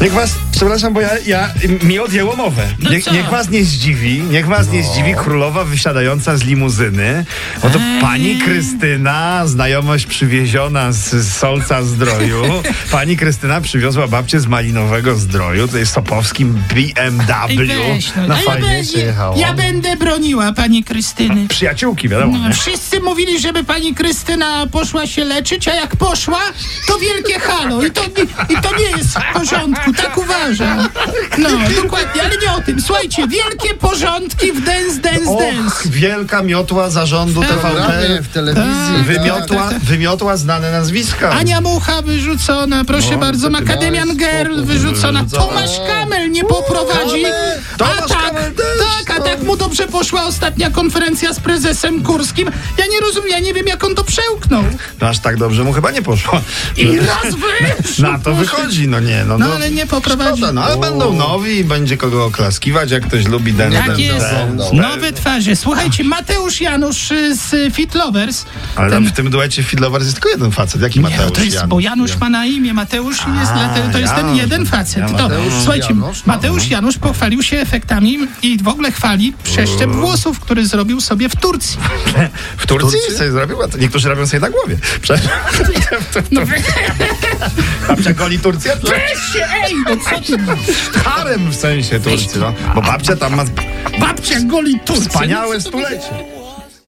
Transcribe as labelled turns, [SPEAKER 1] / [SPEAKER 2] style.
[SPEAKER 1] Niech was, przepraszam, bo ja, ja mi odjęło mowę.
[SPEAKER 2] No
[SPEAKER 1] niech,
[SPEAKER 2] co?
[SPEAKER 1] niech was nie zdziwi, niech was nie zdziwi królowa wysiadająca z limuzyny. No to pani Krystyna, znajomość przywieziona z, z Solca Zdroju. pani Krystyna przywiozła babcię z Malinowego Zdroju, to jest Sopowskim
[SPEAKER 2] Ej,
[SPEAKER 1] BMW.
[SPEAKER 2] weź, no.
[SPEAKER 1] na
[SPEAKER 2] A ja,
[SPEAKER 1] fajnie
[SPEAKER 2] będę-
[SPEAKER 1] przyjechało.
[SPEAKER 2] ja będę broniła pani Krystyny.
[SPEAKER 1] Przyjaciółki, wiadomo,
[SPEAKER 2] No,
[SPEAKER 1] nie?
[SPEAKER 2] wszyscy mówili, żeby pani Krystyna poszła się leczyć, a jak poszła, to wielkie halo. I to, I to nie jest w porządku, tak uważam. No, dokładnie, ale nie o tym. Słuchajcie, wielkie porządki w Dance, Dance, Dance.
[SPEAKER 1] Och, wielka miotła zarządu TVP.
[SPEAKER 3] Programie, w telewizji. tak.
[SPEAKER 1] Wymiotła, wymiotła znane nazwiska.
[SPEAKER 2] Ania Mucha wyrzucona, proszę
[SPEAKER 1] No,
[SPEAKER 2] bardzo,
[SPEAKER 1] takie
[SPEAKER 2] Macadamian
[SPEAKER 1] małe
[SPEAKER 2] Girl
[SPEAKER 1] spoko,
[SPEAKER 2] wyrzucona,
[SPEAKER 1] wyrzucona.
[SPEAKER 2] Tomasz Kamel nie poprowadzi,
[SPEAKER 3] Kamel!
[SPEAKER 1] Tomasz
[SPEAKER 2] a tak,
[SPEAKER 1] Kamel też,
[SPEAKER 2] tak, a
[SPEAKER 1] no.
[SPEAKER 2] tak mu dobrze poszła ostatnia konferencja z prezesem Kurskim, ja nie rozumiem, ja nie wiem jak on to przełknął.
[SPEAKER 1] No aż tak dobrze mu chyba nie poszło.
[SPEAKER 2] I raz wyszło.
[SPEAKER 1] Na to wychodzi, no nie, no,
[SPEAKER 2] No
[SPEAKER 1] no.
[SPEAKER 2] ale nie poprowadzi.
[SPEAKER 1] Szkoda, no ale będą nowi i będzie kogo oklaskiwać, jak ktoś lubi ten
[SPEAKER 2] Tak jest.
[SPEAKER 3] no.
[SPEAKER 2] Nowe twarze. Słuchajcie, Mateusz Janusz y, z y, Fit Lovers.
[SPEAKER 1] Ale
[SPEAKER 2] Ten-
[SPEAKER 1] tam w tym duecie Fidlowers jest tylko jeden facet, jaki
[SPEAKER 2] Nie,
[SPEAKER 1] Mateusz
[SPEAKER 2] no to jest,
[SPEAKER 1] Jan?
[SPEAKER 2] bo Janusz ma na imię Mateusz i jest
[SPEAKER 1] A,
[SPEAKER 2] dlatego, to jest ten
[SPEAKER 1] Janusz.
[SPEAKER 2] jeden facet.
[SPEAKER 1] Ja
[SPEAKER 2] to,
[SPEAKER 1] Mateusz,
[SPEAKER 2] słuchajcie,
[SPEAKER 3] Janusz, no.
[SPEAKER 2] Mateusz Janusz pochwalił się efektami i w ogóle chwali przeszczep włosów, który zrobił sobie w Turcji.
[SPEAKER 1] W Turcji,
[SPEAKER 3] Turcji?
[SPEAKER 1] coś zrobił? A to Niektórzy robią sobie na głowie. Prze-
[SPEAKER 2] No
[SPEAKER 1] babcia goli Turcję? To
[SPEAKER 2] weź się, ej, no co ty?
[SPEAKER 1] Harem w sensie Turcji, no. Bo babcia tam ma
[SPEAKER 2] Babcia goli Turcję.
[SPEAKER 1] wspaniałe
[SPEAKER 2] No co to
[SPEAKER 1] stulecie.